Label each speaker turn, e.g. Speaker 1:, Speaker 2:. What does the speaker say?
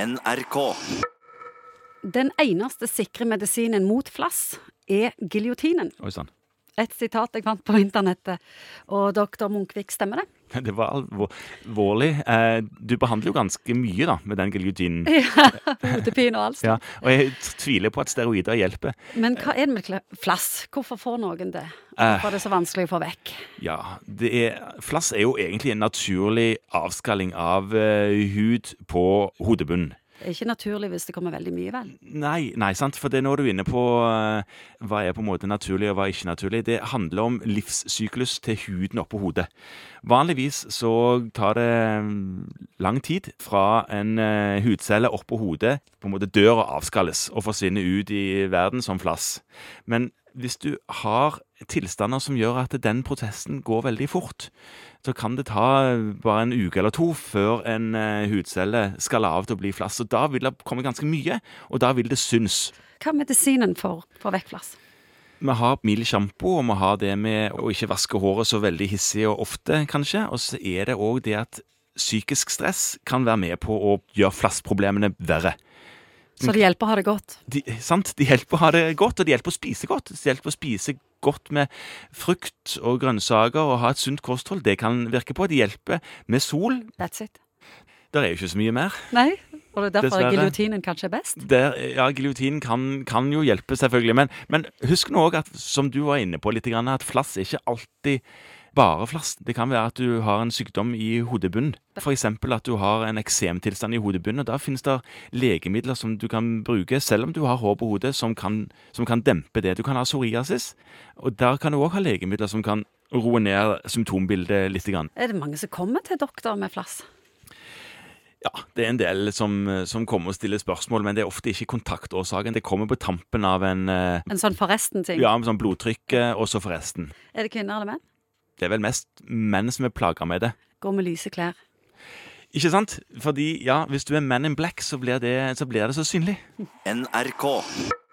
Speaker 1: NRK.
Speaker 2: Den eneste sikre medisinen mot flass er giljotinen.
Speaker 3: Oi sann.
Speaker 2: Et sitat jeg fant på internettet. Og doktor Munkvik, stemmer det?
Speaker 3: Det var alvor- alvorlig. Eh, Du behandler jo ganske mye da, med den giljotinen.
Speaker 2: Hodepine og alt.
Speaker 3: Ja, og jeg t- tviler på at steroider hjelper.
Speaker 2: Men hva er det med kla- flass? Hvorfor får noen det?
Speaker 3: Eh.
Speaker 2: Hvorfor er det så vanskelig å få vekk?
Speaker 3: Ja, det er, Flass er jo egentlig en naturlig avskalling av eh, hud på hodebunnen.
Speaker 2: Det er ikke naturlig hvis det kommer veldig mye, vel?
Speaker 3: Nei, nei, sant? for det er når du er inne på eh, hva er på en måte naturlig og hva er ikke naturlig. Det handler om livssyklus til huden oppå hodet. Vanligvis så tar det mm, lang tid fra en eh, hudcelle oppå hodet på en måte dør og avskalles og forsvinner ut i verden som flass. Men hvis du har tilstander som gjør at den prosessen går veldig fort, så kan det ta bare en uke eller to før en eh, hudcelle skal av til å bli flass. Og da vil det komme ganske mye, og da vil det syns.
Speaker 2: Hva er medisinen for å få vekk flass?
Speaker 3: Vi har mild sjampo, og vi har det med å ikke vaske håret så veldig hissig og ofte, kanskje. Og så er det òg det at psykisk stress kan være med på å gjøre flassproblemene verre.
Speaker 2: Så det hjelper å ha det godt.
Speaker 3: De, sant? de hjelper å ha det godt, og de hjelper å spise godt. De hjelper å spise godt med frukt og grønnsaker og ha et sunt kosthold. Det kan virke på. De hjelper med sol.
Speaker 2: That's it.
Speaker 3: Der er jo ikke så mye mer.
Speaker 2: Nei? Og det er derfor
Speaker 3: Dessverre.
Speaker 2: giljotinen kanskje er best?
Speaker 3: Der, ja, giljotinen kan, kan jo hjelpe, selvfølgelig. Men, men husk nå òg at, som du var inne på litt, grann, at flass er ikke alltid bare flass. Det kan være at du har en sykdom i hodebunnen. F.eks. at du har en eksemtilstand i hodebunnen. og Da finnes det legemidler som du kan bruke, selv om du har hår på hodet, som kan, som kan dempe det. Du kan ha psoriasis, og der kan du òg ha legemidler som kan roe ned symptombildet litt. Grann.
Speaker 2: Er det mange som kommer til doktor med flass?
Speaker 3: Ja, det er en del som, som kommer og stiller spørsmål, men det er ofte ikke kontaktårsaken. Det kommer på tampen av en eh,
Speaker 2: En sånn forresten-ting.
Speaker 3: Ja, med sånn blodtrykket og så forresten.
Speaker 2: Er det kvinner eller menn?
Speaker 3: Det er vel mest menn som er plaga med det.
Speaker 2: Går med lyse klær.
Speaker 3: Ikke sant? Fordi ja, hvis du er man in black, så blir det så, blir det så synlig.
Speaker 1: NRK.